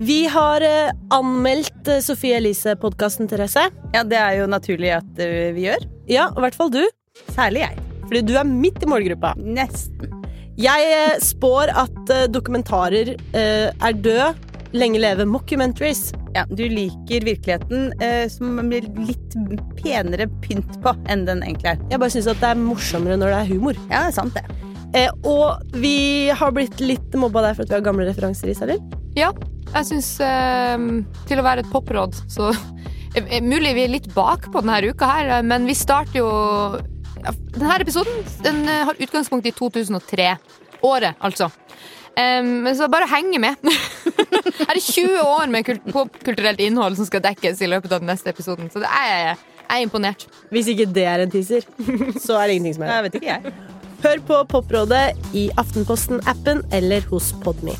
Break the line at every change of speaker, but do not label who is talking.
Vi har eh, anmeldt eh, Sophie Elise-podkasten, Therese.
Ja, det er jo naturlig at ø, vi gjør.
Ja, i hvert fall du.
Særlig jeg.
Fordi du er midt i målgruppa.
Nesten.
Jeg eh, spår at eh, dokumentarer eh, er død. Lenge leve mockumentaries.
Ja, du liker virkeligheten ø, som blir litt penere pynt på enn den egentlig er.
Jeg bare syns det er morsommere når det er humor.
Ja, det er sant, det.
Eh, og vi har blitt litt mobba der for at vi har gamle referanser i Sarin.
Ja, jeg syns ehm, Til å være et popråd, så eh, eh, Mulig vi er litt bakpå denne uka her, eh, men vi starter jo ja, Denne episoden den eh, har utgangspunkt i 2003. Året, altså. Em, men så bare henge med. Her er 20 år med kult popkulturelt innhold som skal dekkes i løpet av den neste episoden. Så det er, jeg er imponert.
Hvis ikke det er en teaser, så er det ingenting som er det.
Jeg vet ikke, jeg.
Hør på Poprådet i Aftenposten-appen eller hos Podme.